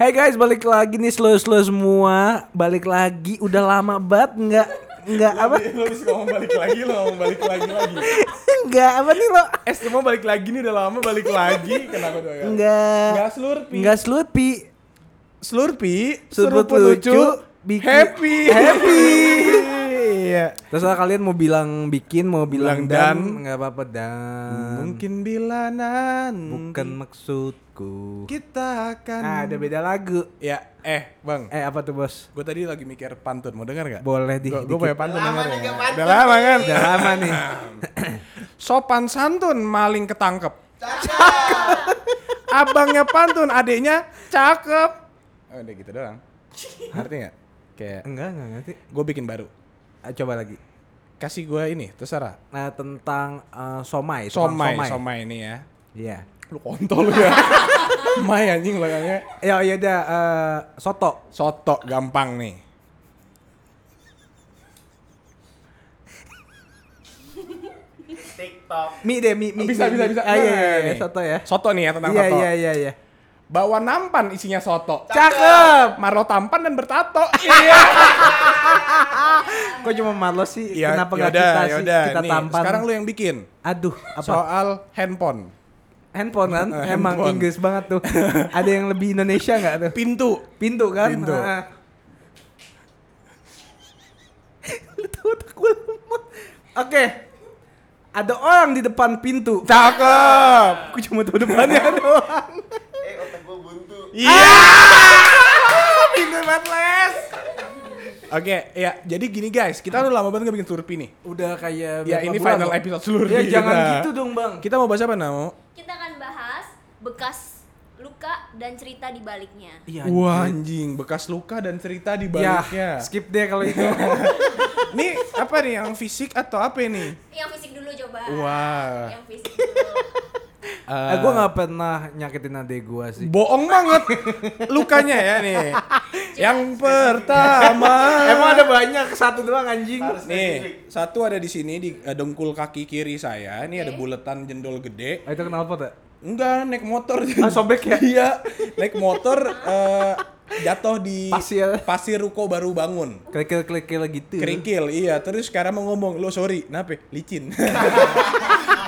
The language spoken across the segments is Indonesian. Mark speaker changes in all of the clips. Speaker 1: Hey guys, balik lagi nih slow-slow semua. Balik lagi, udah lama banget nggak nggak apa
Speaker 2: Lo bisa Iya, ngomong balik lagi, lo ngomong balik lagi lagi.
Speaker 1: nggak apa nih lo
Speaker 2: Es cuma Eh, balik lagi nih udah lama balik lagi. Kenapa tuh ya?
Speaker 1: nggak
Speaker 2: Nggak slurpi.
Speaker 1: nggak slupi
Speaker 2: Slurpi,
Speaker 1: Seruput
Speaker 2: seruput lucu,
Speaker 1: lucu, bikin-
Speaker 2: happy, happy. Iya.
Speaker 1: terus kalian mau bilang bikin mau bilang,
Speaker 2: Bilang
Speaker 1: dan
Speaker 2: dan.
Speaker 1: nggak apa-apa dan
Speaker 2: Mungkin bila nanti
Speaker 1: Hmm. bukan maksudku
Speaker 2: kita akan.
Speaker 1: ah ada beda lagu
Speaker 2: Ya, eh, bang.
Speaker 1: eh apa tuh bos
Speaker 2: Gue tadi lagi mikir pantun, mau dengar nggak?
Speaker 1: boleh di
Speaker 2: Gue
Speaker 1: dikit.
Speaker 2: punya pantun dengar ya.
Speaker 3: juga pantun
Speaker 2: Udah lama kan?
Speaker 1: udah lama nih
Speaker 2: Sopan santun maling ketangkep. Abangnya pantun, adiknya cakep. Oh, udah gitu doang. Ngerti nggak? Kayak
Speaker 1: enggak enggak ngerti
Speaker 2: gue bikin baru.
Speaker 1: Ah, coba lagi
Speaker 2: Kasih gue ini, terserah.
Speaker 1: nah tentang eh, somai tukang
Speaker 2: Somai, somai ini ya.
Speaker 1: iya
Speaker 2: Lu kontol lu ya. Mai anjing belakangnya.
Speaker 1: ya ya udah eh, soto
Speaker 2: Soto gampang nih.
Speaker 3: TikTok.
Speaker 1: mie deh mie, mie
Speaker 2: Bisa,
Speaker 1: mie,
Speaker 2: bisa,
Speaker 1: mie.
Speaker 2: bisa.
Speaker 1: ah, iya, iya, iya,
Speaker 2: Nih.
Speaker 1: soto ya
Speaker 2: Soto nih ya tentang
Speaker 1: iya
Speaker 2: soto.
Speaker 1: iya iya iya
Speaker 2: Bawa nampan isinya soto.
Speaker 1: cakep
Speaker 2: Marlo tampan dan bertato. Iya.
Speaker 1: kok cuma Marlo sih
Speaker 2: Ya,
Speaker 1: kenapa nggak
Speaker 2: yaudah,
Speaker 1: kita sih
Speaker 2: yaudah.
Speaker 1: kita
Speaker 2: Nih,
Speaker 1: tampan
Speaker 2: Sekarang lu yang bikin.
Speaker 1: aduh apa
Speaker 2: Soal handphone.
Speaker 1: handphone kan
Speaker 2: Eh,
Speaker 1: emang
Speaker 2: handphone.
Speaker 1: Inggris banget tuh ada yang lebih Indonesia nggak tuh
Speaker 2: Pintu.
Speaker 1: pintu kan
Speaker 2: Pintu.
Speaker 1: Heeh. Lu tahu otak gua lemot. oke ada orang di depan pintu
Speaker 2: Cakep.
Speaker 1: aku cuma tahu depannya doang
Speaker 3: Eh, otak gue buntu.
Speaker 2: Iya. Pintu banget les. Oke, ya jadi gini guys, kita udah lama banget gak bikin surpi nih.
Speaker 1: udah kayak
Speaker 2: Ya
Speaker 1: berapa
Speaker 2: ini
Speaker 1: bulan,
Speaker 2: final
Speaker 1: Bang?
Speaker 2: episode seluruh
Speaker 1: ya
Speaker 2: kita.
Speaker 1: jangan gitu dong bang
Speaker 2: Kita mau bahas apa Namo?
Speaker 4: Kita akan bahas bekas luka dan cerita di baliknya.
Speaker 1: Iya,
Speaker 2: Wah anjing, bekas luka dan cerita di
Speaker 1: Ya,
Speaker 2: baliknya.
Speaker 1: skip deh kalau itu.
Speaker 2: Nih apa nih, yang fisik atau apa nih?
Speaker 4: Yang fisik dulu coba.
Speaker 2: Wah.
Speaker 4: Yang fisik dulu.
Speaker 1: eh, gue gak pernah nyakitin adek gue sih.
Speaker 2: Bohong banget lukanya ya nih. Yang pertama.
Speaker 1: Emang ada banyak, satu doang anjing.
Speaker 2: Nih, satu ada di sini di eh, dengkul kaki kiri saya. Ini ada buletan jendol gede.
Speaker 1: Oh, itu kenapa tuh?
Speaker 2: Enggak, naik motor.
Speaker 1: Ah, sobek ya?
Speaker 2: iya, naik motor eh, jatuh di
Speaker 1: Pasir.
Speaker 2: pasir ruko baru bangun.
Speaker 1: Kerikil-kerikil gitu.
Speaker 2: Kerikil, iya. Terus sekarang mau ngomong, lo sorry, kenapa? Licin.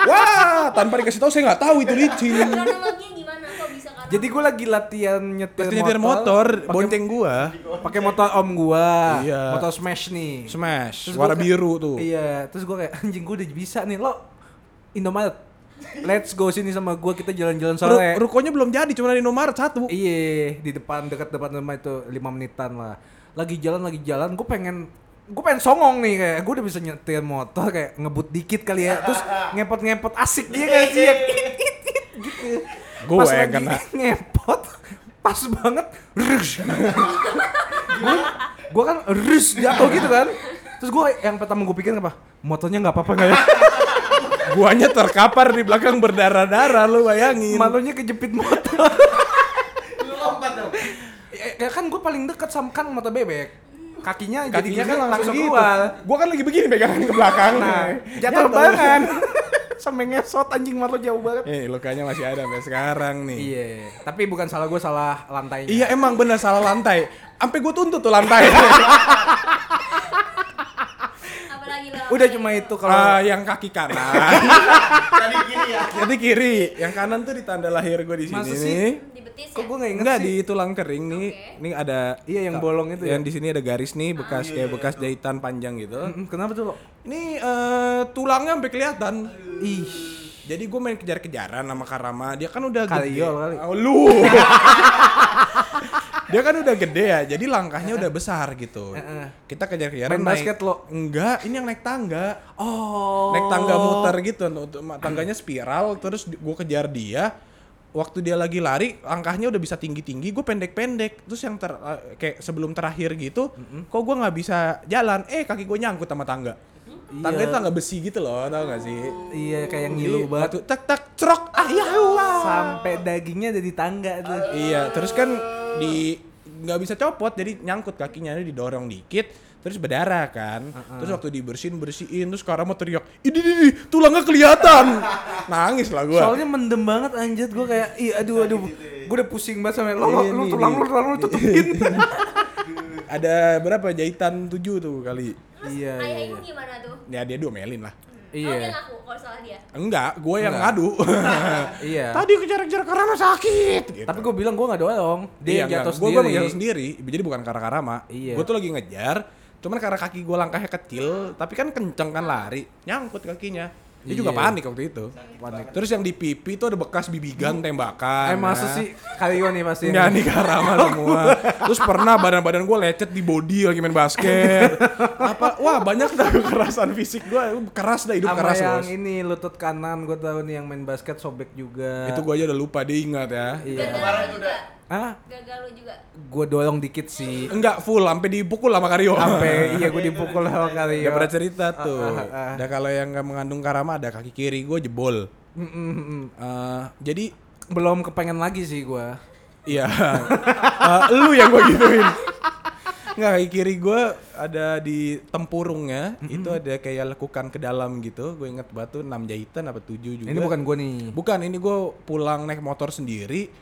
Speaker 2: Wah, tanpa dikasih tahu saya nggak tahu itu licin.
Speaker 4: Kronologinya gimana kok bisa karena
Speaker 1: Jadi gue lagi latihan nyetir
Speaker 2: Pasti nyetir motor, bonceng gua.
Speaker 1: Pakai motor om gua.
Speaker 2: Iya.
Speaker 1: Motor smash nih.
Speaker 2: Smash,
Speaker 1: Terus gua
Speaker 2: warna
Speaker 1: kayak-
Speaker 2: biru tuh.
Speaker 1: Iya, terus gue kayak anjing gue udah bisa nih lo. Indomaret. Let's go sini sama gua kita jalan-jalan
Speaker 2: Ru-
Speaker 1: sore.
Speaker 2: rukonya belum jadi, cuma di nomor satu.
Speaker 1: Iya, di depan dekat depan rumah itu lima menitan lah. Lagi jalan lagi jalan, gue pengen gue pengen songong nih kayak gue udah bisa nyetir motor kayak ngebut dikit kali ya terus ngepot ngepot asik dia kayak sih ya. gitu
Speaker 2: Gue
Speaker 1: pas
Speaker 2: Iya. yang
Speaker 1: lagi
Speaker 2: kena.
Speaker 1: ngepot pas banget gue gue kan rus jatuh gitu kan terus gue yang pertama gue pikir apa motornya nggak apa-apa nggak ya
Speaker 2: Guanya terkapar di belakang berdarah-darah, lu bayangin.
Speaker 1: malunya kejepit motor
Speaker 3: Lu lompat dong.
Speaker 1: Eh, ya kan gue paling deket sama kan motor bebek kakinya, jadinya
Speaker 2: kakinya
Speaker 1: kan langsung, keluar
Speaker 2: Gua kan lagi begini pegangan ke belakang.
Speaker 1: nah jatuh banget sampai ngesot anjing mata jauh banget
Speaker 2: Eh, lukanya masih ada sampai sekarang nih.
Speaker 1: iya tapi bukan salah gue salah lantainya
Speaker 2: Iya, emang bener salah lantai. Sampai gua tuntut tuh lantai.
Speaker 4: apalagi lo.
Speaker 1: udah cuma itu
Speaker 2: Ah,
Speaker 1: kalau
Speaker 2: yang kaki kanan,
Speaker 3: Tadi gini ya.
Speaker 2: jadi kiri. Yang kanan tuh di tanda lahir gua di sini
Speaker 1: Masa sih?
Speaker 2: nih.
Speaker 4: di betis
Speaker 1: kok
Speaker 4: ya.
Speaker 1: gue nggak inget
Speaker 2: Enggak
Speaker 1: sih
Speaker 2: di tulang kering nih. Ini ada
Speaker 1: Iya, yang bolong itu ya?
Speaker 2: Yang di sini ada garis nih bekas
Speaker 3: Ah, iya,
Speaker 2: kayak bekas jahitan panjang gitu.
Speaker 1: Mm, kenapa tuh lo
Speaker 2: Ini eh, tulangnya sampai kelihatan.
Speaker 1: ih
Speaker 2: Jadi gue main kejar-kejaran sama Karama, dia kan udah
Speaker 1: Kariol kali.
Speaker 2: gede. Oh, lu. dia kan udah gede ya, jadi langkahnya
Speaker 1: Eh,
Speaker 2: udah besar gitu. Kita kejar-kejaran
Speaker 1: Main basket lo?
Speaker 2: Enggak, ini yang naik tangga.
Speaker 1: oh
Speaker 2: Naik tangga muter gitu, untuk- tangganya spiral terus gue kejar dia. Waktu dia lagi lari, langkahnya udah bisa tinggi-tinggi, gue pendek-pendek. Terus yang ter eh, kayak sebelum terakhir gitu, kok gue nggak bisa jalan? Eh, kaki gue nyangkut sama tangga. Tangga itu tangga besi gitu loh, tau gak sih?
Speaker 1: iya kayak yang
Speaker 2: Jadi
Speaker 1: Iya. ngilu banget
Speaker 2: waktu tak tak cerok ah ya Allah.
Speaker 1: sampai dagingnya ada di tangga tuh
Speaker 2: Iya, terus kan di nggak bisa copot jadi nyangkut kakinya jadi didorong dikit terus berdarah kan terus waktu dibersihin bersihin terus Kara mau teriak ini ini tulangnya kelihatan nangis lah gua
Speaker 1: Soalnya mendem banget anjir gue kayak ih aduh aduh gue udah pusing banget sama lo lo
Speaker 2: Ini,
Speaker 1: lu
Speaker 2: Iya, ini,
Speaker 1: tulang lu
Speaker 2: ini. Iya,
Speaker 1: tulang lu tutupin.
Speaker 2: ada berapa jahitan tujuh tuh kali
Speaker 4: Terus
Speaker 1: Iya,
Speaker 4: ayah
Speaker 1: iya,
Speaker 4: ibu
Speaker 1: iya.
Speaker 4: gimana tuh?
Speaker 2: ya dia diomelin lah
Speaker 4: Oh dia
Speaker 1: Iya.
Speaker 4: ngaku kalau salah dia.
Speaker 2: enggak gue yang
Speaker 1: Enggak.
Speaker 2: ngadu
Speaker 1: Iya.
Speaker 2: tadi kejar-kejar Karama sakit gitu.
Speaker 1: Tapi gue bilang gue gak dorong.
Speaker 2: Iya,
Speaker 1: Dia yang jatuh
Speaker 2: Gue
Speaker 1: sendiri.
Speaker 2: jatuh sendiri. Jadi bukan karena karama.
Speaker 1: Iya.
Speaker 2: Gue tuh lagi ngejar. Cuman karena kaki gue langkahnya kecil, tapi kan kenceng kan lari, nyangkut kakinya. Dia juga
Speaker 1: Iya.
Speaker 2: panik waktu itu. Terus yang di pipi tuh ada bekas bibigan
Speaker 1: Eh
Speaker 2: tembakan.
Speaker 1: masa
Speaker 2: ya.
Speaker 1: sih Kalio nih pasti.
Speaker 2: Enggak nih karama semua. Terus pernah badan-badan gue lecet di body lagi main basket. Apa? Wah banyak dah kekerasan fisik gue. Keras dah hidup
Speaker 1: Sama
Speaker 2: keras.
Speaker 1: yang
Speaker 2: Bos.
Speaker 1: ini lutut kanan gue tahu nih yang main basket sobek juga.
Speaker 2: Itu gue aja udah lupa dia ingat ya.
Speaker 1: Iya.
Speaker 3: Kemarin
Speaker 4: Gagal lu juga.
Speaker 3: udah.
Speaker 1: Ah,
Speaker 4: Gagal lu juga.
Speaker 1: gue dorong dikit sih.
Speaker 2: Enggak full, sampai dipukul sama Karyo.
Speaker 1: Sampai iya gue dipukul ya. sama Kalio.
Speaker 2: Udah pernah cerita tuh.
Speaker 1: ah, ah, ah.
Speaker 2: Nah kalau yang nggak mengandung karama ada kaki kiri gue jebol.
Speaker 1: Mm, mm, mm.
Speaker 2: Eh, jadi
Speaker 1: Belum kepengen lagi sih gue.
Speaker 2: iya Eh, lu yang gue gituin. Nggak kaki kiri gue ada di tempurungnya
Speaker 1: Mm,
Speaker 2: itu ada kayak lekukan ke dalam gitu. Gue inget batu 6 jahitan apa 7 juga.
Speaker 1: Ini bukan gue nih.
Speaker 2: Bukan, ini gue pulang naik motor sendiri.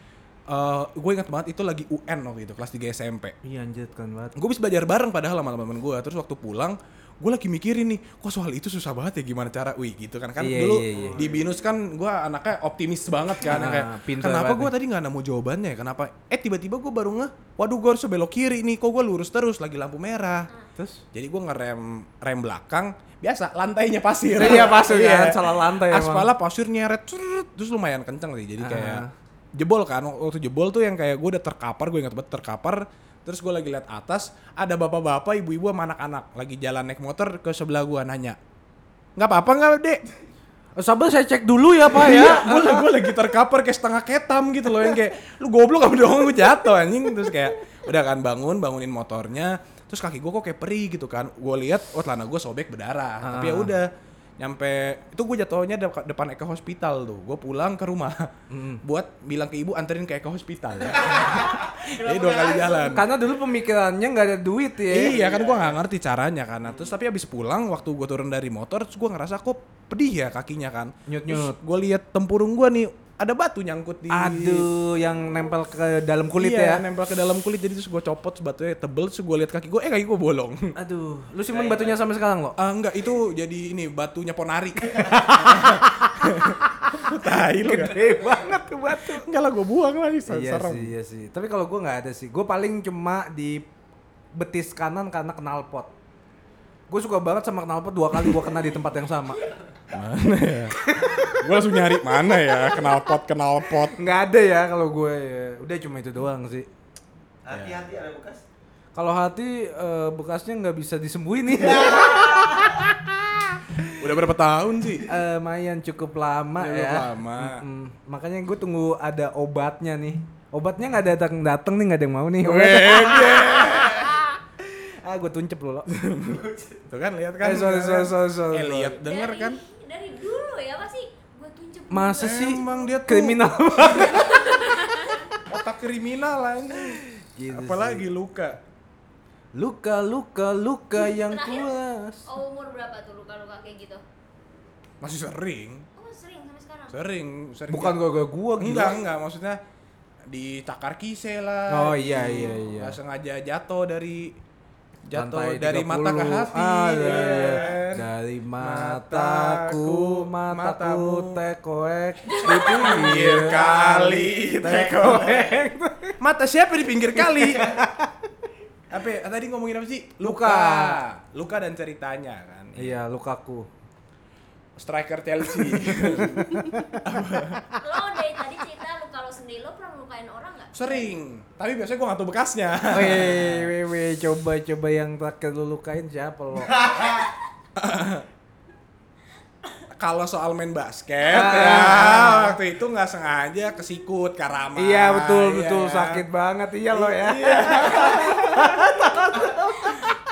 Speaker 2: Eh, gue inget banget itu lagi UN waktu itu kelas 3 SMP.
Speaker 1: Iya anjir kan banget.
Speaker 2: gue bisa belajar bareng padahal sama teman gue terus waktu pulang gue lagi mikirin nih kok soal itu susah banget ya gimana cara wih gitu kan kan
Speaker 1: Iya,
Speaker 2: dulu
Speaker 1: iya, iya.
Speaker 2: di binus kan gue anaknya optimis banget kan yang
Speaker 1: Ah,
Speaker 2: kayak
Speaker 1: pinter
Speaker 2: kenapa
Speaker 1: banget
Speaker 2: gue
Speaker 1: nih."
Speaker 2: tadi nggak nemu jawabannya ya, kenapa eh tiba-tiba gue baru ngeh waduh gue harus belok kiri nih kok gue lurus terus lagi lampu merah
Speaker 1: Terus?
Speaker 2: jadi gue ngerem rem belakang biasa lantainya pasir
Speaker 1: Iya, pasir kan, salah lantai emang.
Speaker 2: aspalnya pasir nyeret cerut, terus lumayan kenceng sih jadi kayak
Speaker 1: Ah.
Speaker 2: jebol kan waktu jebol tuh yang kayak gue udah terkapar gue ingat banget terkapar terus gue lagi lihat atas ada bapak-bapak ibu-ibu sama anak-anak lagi jalan naik motor ke sebelah gue nanya nggak apa-apa nggak dek
Speaker 1: Eh, Sabar saya cek dulu ya pak ya.
Speaker 2: Iya, gue gue lagi terkapar kayak setengah ketam gitu loh yang kayak lu goblok apa dong gue jatuh anjing terus kayak udah kan bangun bangunin motornya terus kaki gue kok kayak perih gitu kan gue lihat oh celana gue sobek berdarah
Speaker 1: Ah.
Speaker 2: tapi ya udah nyampe itu gue jatuhnya dep- depan Eka Hospital tuh gue pulang ke rumah
Speaker 1: Hmm.
Speaker 2: buat bilang ke ibu anterin ke Eka Hospital jadi dua kali jalan
Speaker 1: Karena dulu pemikirannya nggak ada duit ya.
Speaker 2: Iya kan gue nggak ngerti caranya kan. Nah, terus tapi abis pulang waktu gue turun dari motor terus gue ngerasa kok pedih ya kakinya kan.
Speaker 1: Nyut-nyut.
Speaker 2: Gue lihat tempurung gue nih ada batu nyangkut di
Speaker 1: Aduh, yang nempel ke dalam kulit
Speaker 2: iya,
Speaker 1: ya.
Speaker 2: nempel ke dalam kulit jadi terus gue copot terus batunya tebel terus gue lihat kaki gue eh kaki gue bolong.
Speaker 1: Aduh, lu simpen batunya sampai sekarang lo?
Speaker 2: Ah enggak itu jadi ini batunya ponari. Tai lu kan.
Speaker 1: Gede banget tuh batu.
Speaker 2: Enggak lah gue buang lagi
Speaker 1: Iya
Speaker 2: serem.
Speaker 1: sih, iya sih. Tapi kalau gua nggak ada sih. Gue paling cuma di betis kanan karena knalpot. Gue suka banget sama knalpot dua kali gua kena di tempat yang sama.
Speaker 2: Mana ya? gue langsung nyari mana ya kenalpot kenalpot.
Speaker 1: Nggak ada ya kalau gue. ya. Udah cuma itu doang sih.
Speaker 3: Hati-hati ada bekas.
Speaker 1: Kalau hati eh, bekasnya nggak bisa disembuhin nih.
Speaker 2: Udah berapa tahun sih?
Speaker 1: Eh, Mayan cukup lama
Speaker 2: Udah
Speaker 1: ya.
Speaker 2: berapa lama?
Speaker 1: Mm, makanya gue tunggu ada obatnya nih. Obatnya nggak ada datang datang nih nggak ada yang mau nih. ah gue tuncep lu lo.
Speaker 2: Tuh kan lihat kan.
Speaker 1: Eh, sorry, sorry, sorry, sorry.
Speaker 2: Eh, lihat denger
Speaker 4: Dari-
Speaker 2: kan.
Speaker 4: Dari dulu ya pasti gue tunjuk. dulu.
Speaker 1: Masa sih
Speaker 2: Emang dia tuh-
Speaker 1: kriminal.
Speaker 2: Otak kriminal aja.
Speaker 1: Gitu
Speaker 2: Apalagi luka.
Speaker 1: luka luka luka yang
Speaker 4: Terakhir?
Speaker 1: puas.
Speaker 4: Oh, umur berapa tuh luka-luka kayak gitu?
Speaker 2: Masih sering.
Speaker 4: Oh sering sampai sekarang.
Speaker 2: Sering, sering.
Speaker 1: Bukan gua gua gua
Speaker 2: enggak, enggak maksudnya dicakar kise lah.
Speaker 1: Oh, iya,
Speaker 2: di-
Speaker 1: iya, iya.
Speaker 2: nggak sengaja jatuh dari
Speaker 1: Lantai
Speaker 2: jatuh
Speaker 1: 30.
Speaker 2: dari mata ke hati.
Speaker 1: Ah,
Speaker 2: iya
Speaker 1: dari,
Speaker 2: kan?
Speaker 1: dari mataku, mataku,
Speaker 2: matamu.
Speaker 1: tekoek, di pinggir
Speaker 2: pinggir
Speaker 1: Iya.
Speaker 2: kali
Speaker 1: tekoek.
Speaker 2: Mata siapa di pinggir kali? apa ya? tadi ngomongin apa sih?
Speaker 1: Luka.
Speaker 2: Luka, Luka dan ceritanya kan.
Speaker 1: Iya, lukaku.
Speaker 2: Striker Chelsea.
Speaker 4: Lo dari tadi cerita luka lo sendiri, lo pernah ngelukain orang nggak?
Speaker 2: Sering. Tapi biasanya gua nggak tahu bekasnya.
Speaker 1: Oh, iya, Weh, weh, weh, iya. coba coba yang terakhir lu lukain siapa lo?
Speaker 2: Kalau soal main basket
Speaker 1: Ah.
Speaker 2: ya waktu itu nggak sengaja kesikut karama.
Speaker 1: iya, betul betul sakit banget iya lo ya.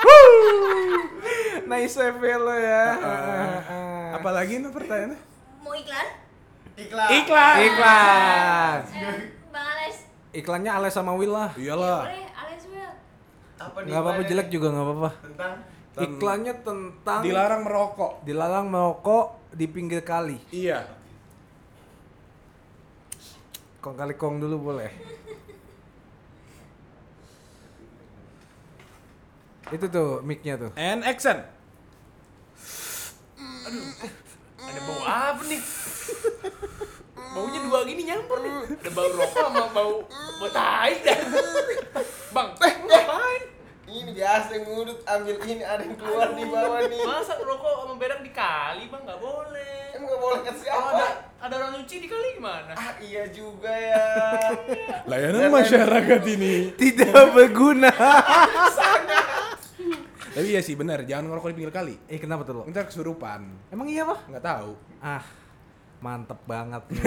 Speaker 1: Wuh. nice save ya lo ya. ah.
Speaker 2: Apalagi itu pertanyaannya?
Speaker 4: Mau iklan?
Speaker 3: Iklan.
Speaker 2: Iklan.
Speaker 1: Iklan.
Speaker 3: Iya.
Speaker 4: Eh, Bang Ales,
Speaker 1: Iklannya Ales sama Will lah.
Speaker 2: Iyalah.
Speaker 4: boleh Ales Eh, Will.
Speaker 3: Apa nih?
Speaker 1: Nggak apa-apa
Speaker 3: Gimana
Speaker 1: jelek
Speaker 3: nih?
Speaker 1: juga nggak apa-apa.
Speaker 3: Tentang
Speaker 1: Iklannya tentang
Speaker 2: Dilarang merokok.
Speaker 1: dilarang merokok di pinggir kali.
Speaker 2: Iya.
Speaker 1: Kong kali kong dulu boleh. Itu tuh mic-nya tuh.
Speaker 2: And action.
Speaker 5: Ada bau apa nih? Baunya dua gini nyampur nih.
Speaker 3: Hmm.
Speaker 5: Ada bau rokok sama bau bau tai dah.
Speaker 3: Hmm.
Speaker 5: Bang,
Speaker 3: Eh,
Speaker 5: ngapain?
Speaker 3: ini biasa yang ngudut ambil ini ada yang keluar di bawah nih.
Speaker 5: Masa rokok sama berak di kali, Bang? Nggak boleh.
Speaker 3: Emang nggak boleh ke
Speaker 5: Kalau
Speaker 1: Oh,
Speaker 5: ada
Speaker 3: siapa?
Speaker 5: ada orang nyuci di kali gimana?
Speaker 3: eh, Ah iya juga ya.
Speaker 2: Layanan masyarakat ini.
Speaker 1: Tidak berguna.
Speaker 2: Tapi iya sih benar, jangan ngerokok di pinggir kali.
Speaker 1: eh kenapa tuh lo?
Speaker 2: Ntar kesurupan.
Speaker 1: Emang iya pak?
Speaker 2: Nggak tahu.
Speaker 1: Ah, mantep banget nih.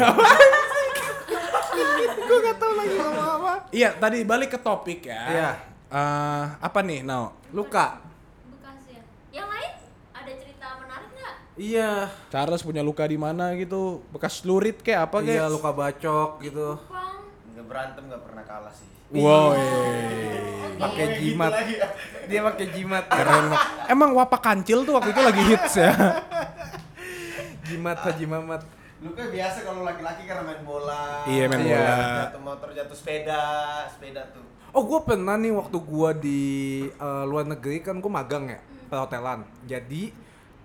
Speaker 2: Iya, tadi balik ke topik ya.
Speaker 1: Iya.
Speaker 2: Eh, apa nih, Nao?
Speaker 1: Luka.
Speaker 4: Bekas ya. Yang lain ada cerita menarik nggak?
Speaker 1: Iya.
Speaker 2: Charles punya luka di mana gitu? Bekas lurit kayak apa
Speaker 1: Iya
Speaker 2: kayak?
Speaker 1: luka bacok gitu.
Speaker 4: Kupang.
Speaker 3: Nggak berantem nggak pernah kalah sih.
Speaker 2: Wow. Iya.
Speaker 4: Oke.
Speaker 1: Pakai
Speaker 3: Kayak gitu
Speaker 1: jimat.
Speaker 3: lagi ya.
Speaker 1: Dia pakai jimat.
Speaker 2: Keren banget. Emang wapak kancil tuh waktu itu lagi hits ya.
Speaker 1: Jimat Haji Mamat.
Speaker 3: Luka biasa kalau laki-laki karena main bola.
Speaker 2: Iya, main
Speaker 3: Iya,
Speaker 2: bola.
Speaker 3: Jatuh motor, jatuh sepeda, sepeda tuh.
Speaker 1: Oh gue pernah nih waktu gue di eh, luar negeri kan gue magang ya perhotelan. Jadi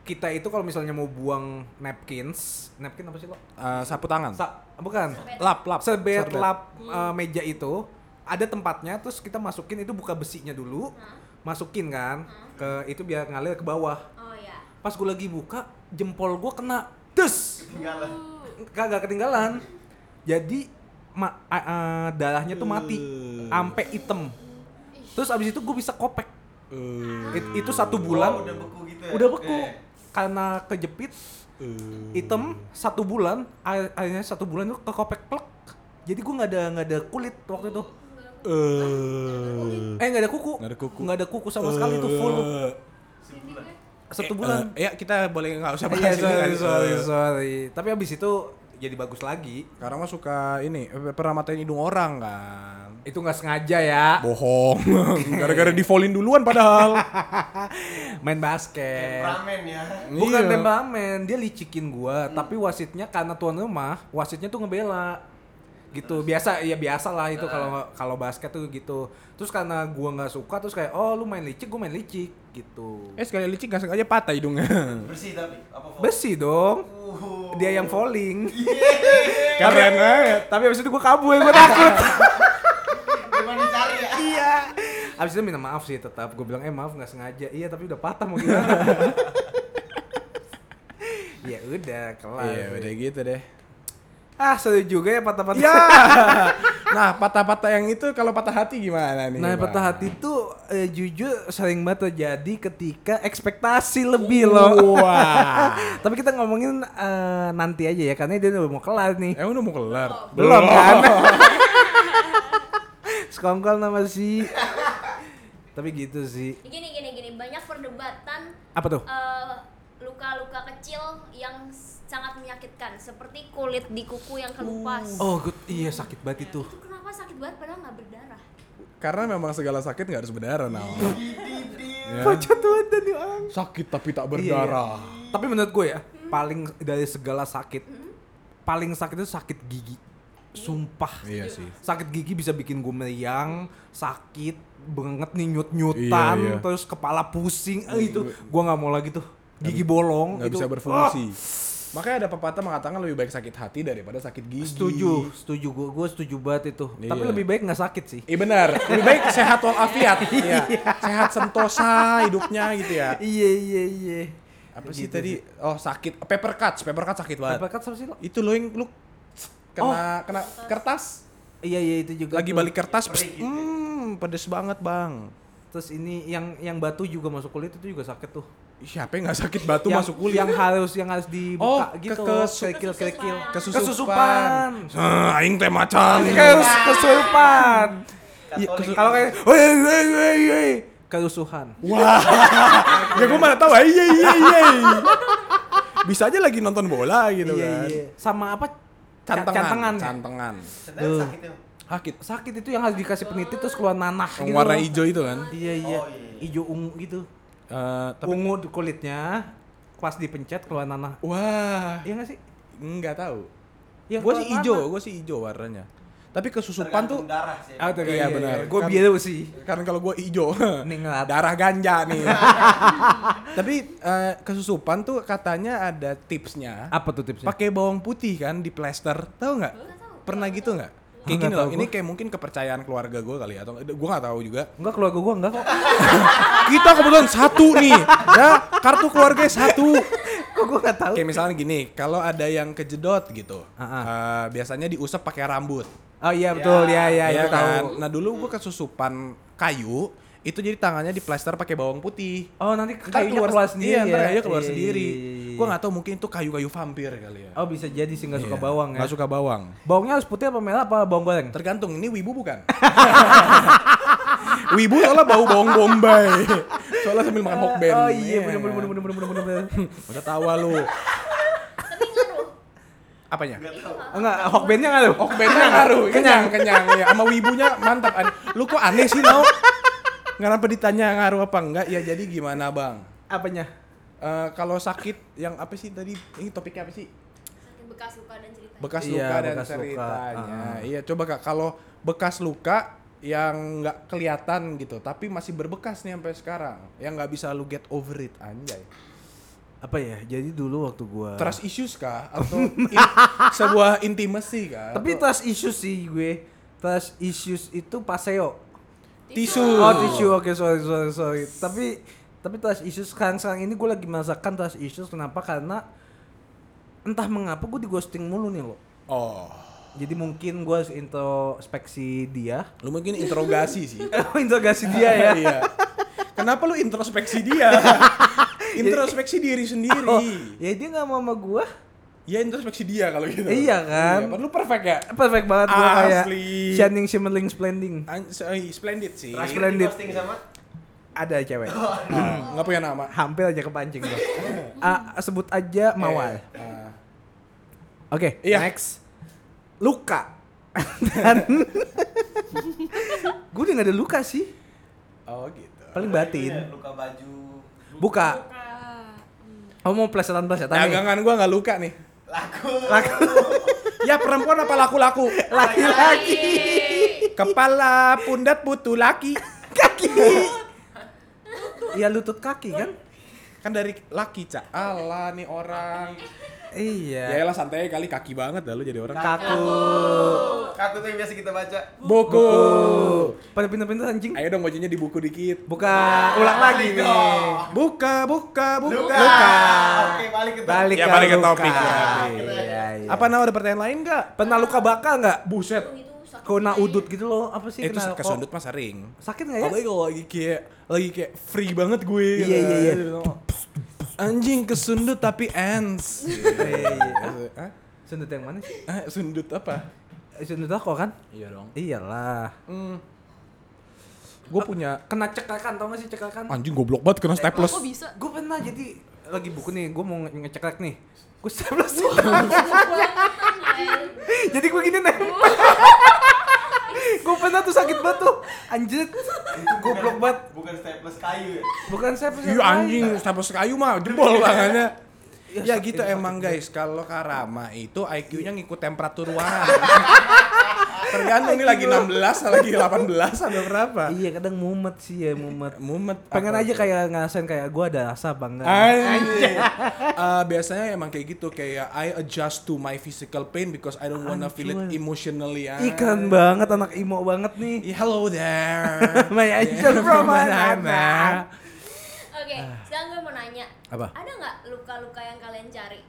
Speaker 1: kita itu kalau misalnya mau buang napkins, napkin apa sih lo?
Speaker 2: Eh, sapu tangan.
Speaker 1: Sa- bukan.
Speaker 2: lap, lap.
Speaker 1: Sebet
Speaker 2: Sorbet.
Speaker 1: lap
Speaker 3: Hmm.
Speaker 1: eh, meja itu ada tempatnya terus kita masukin itu buka besinya dulu.
Speaker 3: Hmm.
Speaker 1: Masukin kan ke itu biar ngalir ke bawah.
Speaker 4: Oh ya.
Speaker 1: Pas gue lagi buka jempol gue kena des.
Speaker 3: Tinggalan.
Speaker 4: Hmm,
Speaker 1: kagak ketinggalan. Jadi ma- a- a- darahnya tuh mati, ampe item. Terus abis itu gue bisa kopek.
Speaker 2: Eh,
Speaker 1: It- itu satu
Speaker 3: Oh,
Speaker 1: bulan
Speaker 3: udah beku gitu ya.
Speaker 1: udah beku
Speaker 3: Oke.
Speaker 1: karena kejepit
Speaker 2: eh.
Speaker 1: item satu bulan air- airnya satu bulan tuh kekopek plek. Jadi gue nggak ada nggak ada kulit waktu itu.
Speaker 2: Eh.
Speaker 1: Eh nggak ada kuku.
Speaker 2: Nggak ada kuku.
Speaker 1: Nggak ada kuku sama sekali itu full
Speaker 2: Eh,
Speaker 1: satu bulan.
Speaker 2: eh, ya kita boleh nggak usah
Speaker 1: Iya
Speaker 2: bahas ini kan?
Speaker 1: sorry
Speaker 2: kali.
Speaker 1: sorry sorry. Tapi abis itu jadi bagus lagi.
Speaker 2: Sekarang mah suka ini eh, pernah matain hidung orang kan.
Speaker 1: Itu nggak sengaja ya.
Speaker 2: Bohong. Gara-gara di volin duluan padahal.
Speaker 1: Main basket.
Speaker 3: Temperamen ya.
Speaker 1: Bukan
Speaker 2: Iya.
Speaker 1: temperamen, dia licikin gua, tapi wasitnya karena tuan rumah, wasitnya tuh ngebela. Gitu. Biasa ya biasa lah itu kalau kalau basket tuh gitu. Terus karena gua nggak suka terus kayak oh lu main licik, gua main licik gitu.
Speaker 2: eh sekali licik gak sengaja patah hidungnya.
Speaker 3: Bersih tapi apa Fo?
Speaker 1: Besi dong.
Speaker 2: Oh.
Speaker 3: Uh.
Speaker 1: Dia yang falling.
Speaker 2: Keren banget.
Speaker 1: tapi abis itu gua kabur, gua takut.
Speaker 3: Gimana cari ya?
Speaker 1: iya. Abis itu minta maaf sih tetap. Gua bilang eh maaf nggak sengaja. Iya tapi udah patah mau gimana. ya udah kelar.
Speaker 2: Iya, udah gitu deh.
Speaker 1: Ah seru juga ya patah-patah.
Speaker 2: Ya. nah, patah-patah yang itu kalau patah hati gimana nih?
Speaker 1: Nah,
Speaker 2: Bang?
Speaker 1: patah hati tuh eh, jujur sering banget terjadi ketika ekspektasi lebih loh.
Speaker 2: Wah.
Speaker 1: Tapi kita ngomongin eh, nanti aja ya karena dia udah mau kelar nih.
Speaker 2: Emang Eh, udah mau kelar?
Speaker 1: Belum kan? Sekongkol nama si. Tapi gitu sih.
Speaker 4: Gini gini gini banyak perdebatan
Speaker 1: Apa tuh?
Speaker 4: eh, luka-luka kecil yang s- sangat menyakitkan seperti kulit di kuku yang kelupas.
Speaker 1: Oh, good. iya sakit banget itu.
Speaker 4: Itu kenapa sakit banget padahal nggak berdarah?
Speaker 2: Karena memang segala sakit nggak harus berdarah, nah. Ya.
Speaker 1: Kocak tuh ada nih orang.
Speaker 2: Sakit tapi
Speaker 1: Iya, iya.
Speaker 2: tak berdarah.
Speaker 1: Tapi menurut gue ya, paling dari segala sakit, paling sakit itu sakit gigi. Sumpah.
Speaker 2: Iya sih.
Speaker 1: Sakit gigi bisa bikin gue meriang, sakit banget nih nyut-nyutan,
Speaker 2: Iya, iya.
Speaker 1: terus kepala pusing. Eh, itu gue nggak mau lagi tuh. Gigi bolong
Speaker 2: Nggak
Speaker 1: itu. Ah!
Speaker 2: bisa berfungsi. Makanya ada pepatah mengatakan lebih baik sakit hati daripada sakit
Speaker 1: Ah,
Speaker 2: gigi.
Speaker 1: setuju, setuju gue, gue setuju banget itu. Tapi
Speaker 2: Iya.
Speaker 1: lebih baik nggak sakit sih.
Speaker 2: Iya benar, lebih baik sehat walafiat. Iya. Sehat sentosa hidupnya gitu ya.
Speaker 1: Iya iya iya.
Speaker 2: Apa sih tadi? Oh, sakit. Paper cuts, paper Oh. cuts sakit banget.
Speaker 1: Apa kan sama sih lo?
Speaker 2: Itu lo yang lu kena kena kertas.
Speaker 1: Iya iya itu juga.
Speaker 2: Lagi
Speaker 1: tuh.
Speaker 2: balik kertas, pst, hmm, pedes banget, Bang.
Speaker 1: Terus ini yang yang batu juga masuk kulit itu juga sakit tuh.
Speaker 2: Siapa yang nggak sakit batu
Speaker 1: yang,
Speaker 2: masuk kulit?
Speaker 1: yang harus yang harus
Speaker 2: Oh,
Speaker 1: dibuka
Speaker 2: ke-
Speaker 1: gitu
Speaker 2: ke-
Speaker 1: kerikil kerikil
Speaker 2: kesusupan.
Speaker 1: kesusupan
Speaker 2: Hah, Ah, aing teh macan.
Speaker 1: Kes, kesurupan
Speaker 2: Iya, kesu-
Speaker 1: kalau kayak woi woi woi woi kerusuhan
Speaker 2: Wah. ya gue mana tahu. Iya iya iya. Bisa aja lagi nonton bola gitu
Speaker 1: iya
Speaker 2: kan.
Speaker 1: iya sama apa Ca-
Speaker 2: Cantengan,
Speaker 1: cantengan
Speaker 2: cantengan.
Speaker 3: Sedang sakit ya.
Speaker 2: Hakit.
Speaker 1: sakit itu yang harus dikasih penitip terus keluar nanah
Speaker 2: Yang
Speaker 1: gitu
Speaker 2: warna
Speaker 1: loh.
Speaker 2: hijau itu kan.
Speaker 1: iya iya
Speaker 3: Oh, iya.
Speaker 1: hijau ungu gitu
Speaker 2: Eh, tapi
Speaker 1: ungu di kulitnya pas dipencet keluar nanah
Speaker 2: wah,
Speaker 1: iya nggak sih
Speaker 2: nggak tahu.
Speaker 1: Ya,
Speaker 2: gue
Speaker 1: kalau
Speaker 2: sih hijau,
Speaker 1: warna.
Speaker 2: gue sih hijau warnanya. Tapi kesusupan tuh
Speaker 3: Tergantung darah sih.
Speaker 1: ah tuh
Speaker 2: Iya, benar.
Speaker 1: gue
Speaker 2: Kan-
Speaker 1: biru sih
Speaker 2: kan kalau gue hijau
Speaker 1: Nih ngeliat.
Speaker 2: darah ganja nih. Tapi eh, kesusupan tuh katanya ada tipsnya.
Speaker 1: apa tuh tipsnya
Speaker 2: Pakai bawang putih kan di plester, tahu nggak? Pernah gitu nggak?
Speaker 1: Nggak
Speaker 2: Kayak gini loh,
Speaker 1: tahu
Speaker 2: ini
Speaker 1: gua.
Speaker 2: kayak mungkin kepercayaan keluarga gue kali ya, atau gue nggak tahu juga.
Speaker 1: enggak keluarga gue enggak kok
Speaker 2: Kita kebetulan satu nih, ya kartu keluarga satu.
Speaker 1: kok gue nggak tahu
Speaker 2: Kayak misalnya gini, kalau ada yang kejedot gitu,
Speaker 1: Ah, ah.
Speaker 2: eh, biasanya diusap pakai rambut.
Speaker 1: oh iya betul ya ya,
Speaker 2: Iya
Speaker 1: itu tahu
Speaker 2: kan? Nah dulu gue kesusupan kayu, itu jadi tangannya diplester pakai bawang putih.
Speaker 1: oh nanti
Speaker 2: Ntar
Speaker 1: kayaknya keluar sendiri
Speaker 2: Iya, ntar
Speaker 1: ya.
Speaker 2: kayunya keluar
Speaker 1: Iya,
Speaker 2: sendiri.
Speaker 1: iya, iya, iya.
Speaker 2: Gue nggak tahu mungkin itu kayu-kayu vampir kali ya. Iya.
Speaker 1: oh bisa jadi sih nggak suka bawang ya
Speaker 2: Nggak suka bawang.
Speaker 1: bawangnya harus putih apa merah apa bawang goreng
Speaker 2: Tergantung ini wibu bukan? wibu soalnya bau bawang bombay. Soalnya sambil makan hokben.
Speaker 1: oh iya bener bener bener bener bener bener bener
Speaker 2: Udah tawa lu.
Speaker 4: Tapi ngaruh.
Speaker 2: Apanya?
Speaker 1: enggak hokbennya nggak lu
Speaker 2: Hokbennya ngaruh. Kenyang, kenyang. Ya, sama wibunya mantap. An- Lu kok aneh sih, Nau? Kenapa ditanya ngaruh apa enggak? Ya jadi gimana, Bang?
Speaker 1: apanya
Speaker 2: Eh, kalau sakit yang apa sih tadi? Ini topiknya apa sih?
Speaker 4: Sakit bekas luka dan cerita.
Speaker 2: bekas
Speaker 1: Iya,
Speaker 2: luka dan
Speaker 1: bekas luka.
Speaker 2: ceritanya.
Speaker 1: Ah.
Speaker 2: Iya, coba Kak, kalau bekas luka yang nggak kelihatan gitu, tapi masih berbekas nih sampai sekarang, yang nggak bisa lu get over it anjay.
Speaker 1: apa ya jadi dulu waktu gue
Speaker 2: Trust issues kah atau in- sebuah intimacy kah?
Speaker 1: tapi
Speaker 2: Atau-
Speaker 1: trust issues sih gue trust issues itu paseo
Speaker 2: tisu.
Speaker 1: oh tisu oke sorry sorry sorry tapi tapi trust issues sekarang sekarang ini gue lagi merasakan trust issues kenapa karena entah mengapa gue di ghosting mulu nih lo
Speaker 2: Oh,
Speaker 1: jadi mungkin gue harus introspeksi dia
Speaker 2: lu mungkin interogasi sih.
Speaker 1: interogasi dia ya
Speaker 2: iya. Kenapa lu introspeksi dia? introspeksi diri sendiri.
Speaker 1: Iya. oh, ya dia nggak mau sama gue
Speaker 2: Ya introspeksi dia kalau gitu.
Speaker 1: Iya kan?
Speaker 2: Iya, lu perfect ya?
Speaker 1: perfect banget gue kayak
Speaker 2: Asli.
Speaker 1: shining shimmering splending
Speaker 2: An- eh, splendid sih.
Speaker 1: Trust
Speaker 3: Ini
Speaker 1: Splendid.
Speaker 3: posting sama
Speaker 1: ada cewek
Speaker 2: Hmm, nggak punya nama.
Speaker 1: hampir aja kepancing gue Ah, sebut aja mawar
Speaker 2: Eh,
Speaker 1: Oke,
Speaker 2: Iya.
Speaker 1: next. Luka. Dan gue udah gak ada luka sih.
Speaker 2: oh gitu.
Speaker 1: Paling
Speaker 3: Iya,
Speaker 1: batin.
Speaker 3: luka baju.
Speaker 1: Buka. Oh mau plesetan-plesetan nih.
Speaker 2: Dagangan gua nggak luka nih.
Speaker 3: Laku.
Speaker 2: Ya perempuan apa laku-laku?
Speaker 1: Laki-laki.
Speaker 2: Kepala pundat putu laki.
Speaker 1: Kaki. Iya lutut kaki kan?
Speaker 2: Kan dari laki, Cak. Allah nih orang. Ya
Speaker 1: Iya.
Speaker 2: elah santai kali kaki banget dah lu jadi orang.
Speaker 1: Kaku.
Speaker 3: Kaku tuh Oh. yang biasa kita baca.
Speaker 2: Buku.
Speaker 1: Pada pintar-pintar anjing.
Speaker 2: Ayo dong bajunya di buku dikit.
Speaker 1: Buka
Speaker 2: Ah,
Speaker 1: ulang lagi nih.
Speaker 2: Oh. Buka, buka, buka.
Speaker 3: Luka. Oke, balik ke
Speaker 1: Balik
Speaker 2: Ya,
Speaker 1: ke
Speaker 2: balik ke
Speaker 1: luka.
Speaker 2: topik ya.
Speaker 1: Iya, iya.
Speaker 2: Apa nama ada pertanyaan lain nggak?
Speaker 1: Pernah luka bakal nggak?
Speaker 2: Buset.
Speaker 4: Itu sakit.
Speaker 1: Kena udut gitu loh. Apa sih?
Speaker 2: Itu Oh,
Speaker 1: kena kok?
Speaker 2: kesundut mah sering.
Speaker 1: Sakit nggak ya?
Speaker 2: Apalagi kalau lagi kayak lagi kayak free banget gue.
Speaker 1: Iya, iya, iya.
Speaker 2: Anjing kesundut tapi ends.
Speaker 1: Iya, iya.
Speaker 2: Hah?
Speaker 1: Sundut yang mana sih?
Speaker 2: Ah, sundut apa?
Speaker 1: Eh, Sundut aku kan?
Speaker 2: Iya dong.
Speaker 1: Iyalah.
Speaker 2: Gue punya
Speaker 1: Kena cekakan tau gak sih cekakan?
Speaker 2: anjing goblok banget kena staples.
Speaker 6: Kok bisa?
Speaker 1: Gue pernah jadi lagi buku nih, gue mau nge- ngecekrek nih. Gue staples sih. jadi gue gini nih. gue pernah tuh sakit banget tuh. Anjir. Itu goblok banget.
Speaker 3: Bukan staples kayu ya.
Speaker 1: Bukan saya pesan.
Speaker 2: Iya anjing staples kayu mah jebol tangannya.
Speaker 1: Ya,
Speaker 2: Ya,
Speaker 1: sakit,
Speaker 2: gitu
Speaker 1: sakit
Speaker 2: emang guys, kalau Karama itu IQ-nya
Speaker 1: Iya.
Speaker 2: ngikut temperatur ruangan. Tergantung ini lagi 16, lagi 18, ada berapa?
Speaker 1: Iya kadang mumet sih ya mumet.
Speaker 2: Mumet.
Speaker 1: Pengen
Speaker 2: apa
Speaker 1: aja Iya.
Speaker 2: tuh?
Speaker 1: kayak ngerasain kayak gue ada rasa apa enggak.
Speaker 2: Anjing. Eh, biasanya emang kayak gitu kayak I adjust to my physical pain because I don't wanna feel it
Speaker 1: Anjing.
Speaker 2: emotionally.
Speaker 1: Ih, keren banget anak imo banget nih. ya,
Speaker 2: Yeah, hello there.
Speaker 1: My
Speaker 2: Yeah,
Speaker 1: angel from Manhattan.
Speaker 4: Oke,
Speaker 2: Ah.
Speaker 4: sekarang gue mau nanya.
Speaker 1: Apa?
Speaker 4: Ada nggak luka-luka yang kalian cari?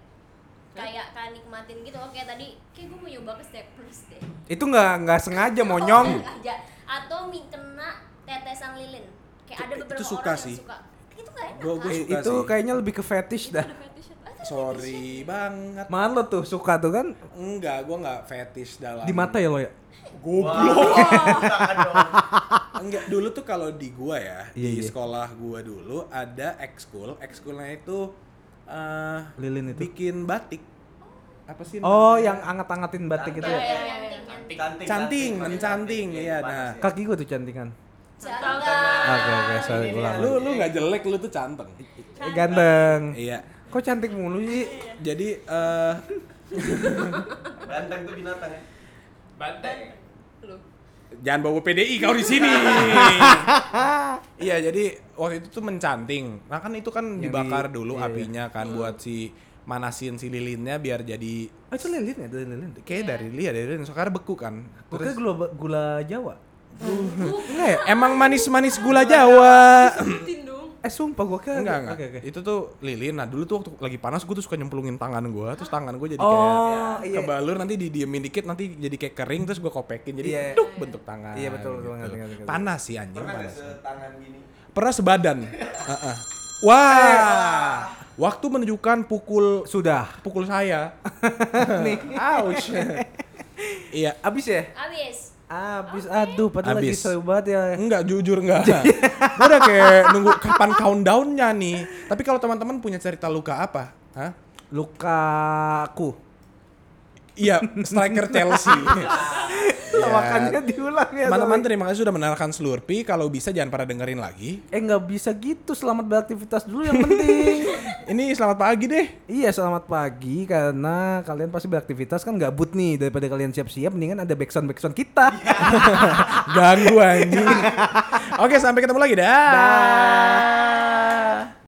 Speaker 4: Kayak kalian nikmatin gitu. Oke, tadi kayak gue mau nyoba ke staples deh.
Speaker 1: Itu nggak nggak sengaja monyong.
Speaker 4: Oh, aja. Atau mi kena tetesan lilin. Kayak ada
Speaker 2: Itu-
Speaker 4: beberapa
Speaker 2: itu suka
Speaker 4: orang
Speaker 2: sih.
Speaker 4: yang suka. Itu gak enak.
Speaker 2: Gua-
Speaker 4: kan?
Speaker 2: gua Iya, suka
Speaker 1: itu
Speaker 2: sih.
Speaker 1: kayaknya lebih ke fetish dah.
Speaker 4: Ada fetishnya. Ah, itu
Speaker 2: Sorry banget.
Speaker 1: Mahan lo tuh suka tuh kan
Speaker 2: Enggak, gua enggak fetish dalam.
Speaker 1: di mata ya lo ya.
Speaker 2: Goblok.
Speaker 3: Bukan Oh. dong.
Speaker 2: Enggak, dulu tuh kalau di gua ya, di
Speaker 1: Iya, iya.
Speaker 2: sekolah gua dulu ada ekskul. Ekskulnya itu eh
Speaker 1: Lilin itu.
Speaker 2: bikin batik. apa sih?
Speaker 1: Oh, yang anget-angetin batik
Speaker 2: gitu
Speaker 1: itu
Speaker 4: Iya,
Speaker 1: ya.
Speaker 4: iya, iya.
Speaker 3: Canting,
Speaker 2: Canting, canting, iya,
Speaker 3: ya.
Speaker 2: nah.
Speaker 1: Kaki gue tuh cantingan.
Speaker 4: Jangan.
Speaker 1: Oke, oke, sorry
Speaker 3: Ini
Speaker 1: ulang.
Speaker 3: dia.
Speaker 2: Ya, Lu lu nggak jelek, lu tuh canteng.
Speaker 1: Eh, Ganteng.
Speaker 2: Iya.
Speaker 1: Kok cantik mulu sih?
Speaker 2: Jadi eh
Speaker 3: Banteng tuh binatang ya.
Speaker 5: Banteng.
Speaker 2: jangan bawa PDI kau di sini. Iya, jadi waktu itu tuh mencanting. Nah kan itu kan
Speaker 1: Jadi,
Speaker 2: dibakar dulu
Speaker 1: iya, iya.
Speaker 2: apinya kan buat si manasin si lilinnya biar jadi
Speaker 1: Oh, itu lilin ya, itu lilin.
Speaker 2: kayak dari lihat dari lilin sekarang beku kan.
Speaker 1: Gue kira gula, gula Jawa.
Speaker 2: Enggak ya? Emang manis-manis gula Jawa.
Speaker 1: Eh, sumpah gue kira.
Speaker 2: Enggak, enggak.
Speaker 1: Oke, oke.
Speaker 2: Itu tuh lilin. Nah, dulu tuh waktu lagi panas gue tuh suka nyemplungin tangan gue, terus tangan gue jadi
Speaker 1: Oh,
Speaker 2: kayak
Speaker 1: iya.
Speaker 2: kebalur nanti didiemin dikit nanti jadi kayak kering terus gue kopekin
Speaker 1: Iya.
Speaker 2: jadi duk bentuk tangan. gitu.
Speaker 1: Iya, betul, betul, ngerti, ngerti, ngerti.
Speaker 2: Panas sih anjing,
Speaker 3: Pernah nggak
Speaker 2: panas.
Speaker 3: setangan gini?
Speaker 2: Pernah sebadan. Heeh. Wah. Waktu menunjukkan pukul
Speaker 1: Sudah.
Speaker 2: pukul saya.
Speaker 1: Nih.
Speaker 2: Ouch. Iya.
Speaker 1: Abis ya?
Speaker 4: Habis.
Speaker 1: Abis. Aduh, padahal lagi
Speaker 2: Abis.
Speaker 1: seru banget ya.
Speaker 2: Enggak, jujur enggak. Gua udah kayak nunggu kapan countdownnya nih. Tapi kalau teman-teman punya cerita luka apa? Hah?
Speaker 1: Luka aku.
Speaker 2: Iya, striker Chelsea. Iya.
Speaker 1: Makanya diulang ya.
Speaker 2: Teman-teman terima kasih sudah menarakan Slurpee. Kalau bisa jangan pada dengerin lagi.
Speaker 1: Eh nggak bisa gitu, selamat beraktivitas dulu yang penting.
Speaker 2: Ini selamat pagi deh.
Speaker 1: iya selamat pagi karena kalian pasti beraktivitas kan gabut nih daripada kalian siap-siap mendingan ada backsound backsound kita.
Speaker 2: Ganggu anjing. Oke, sampai ketemu lagi dah.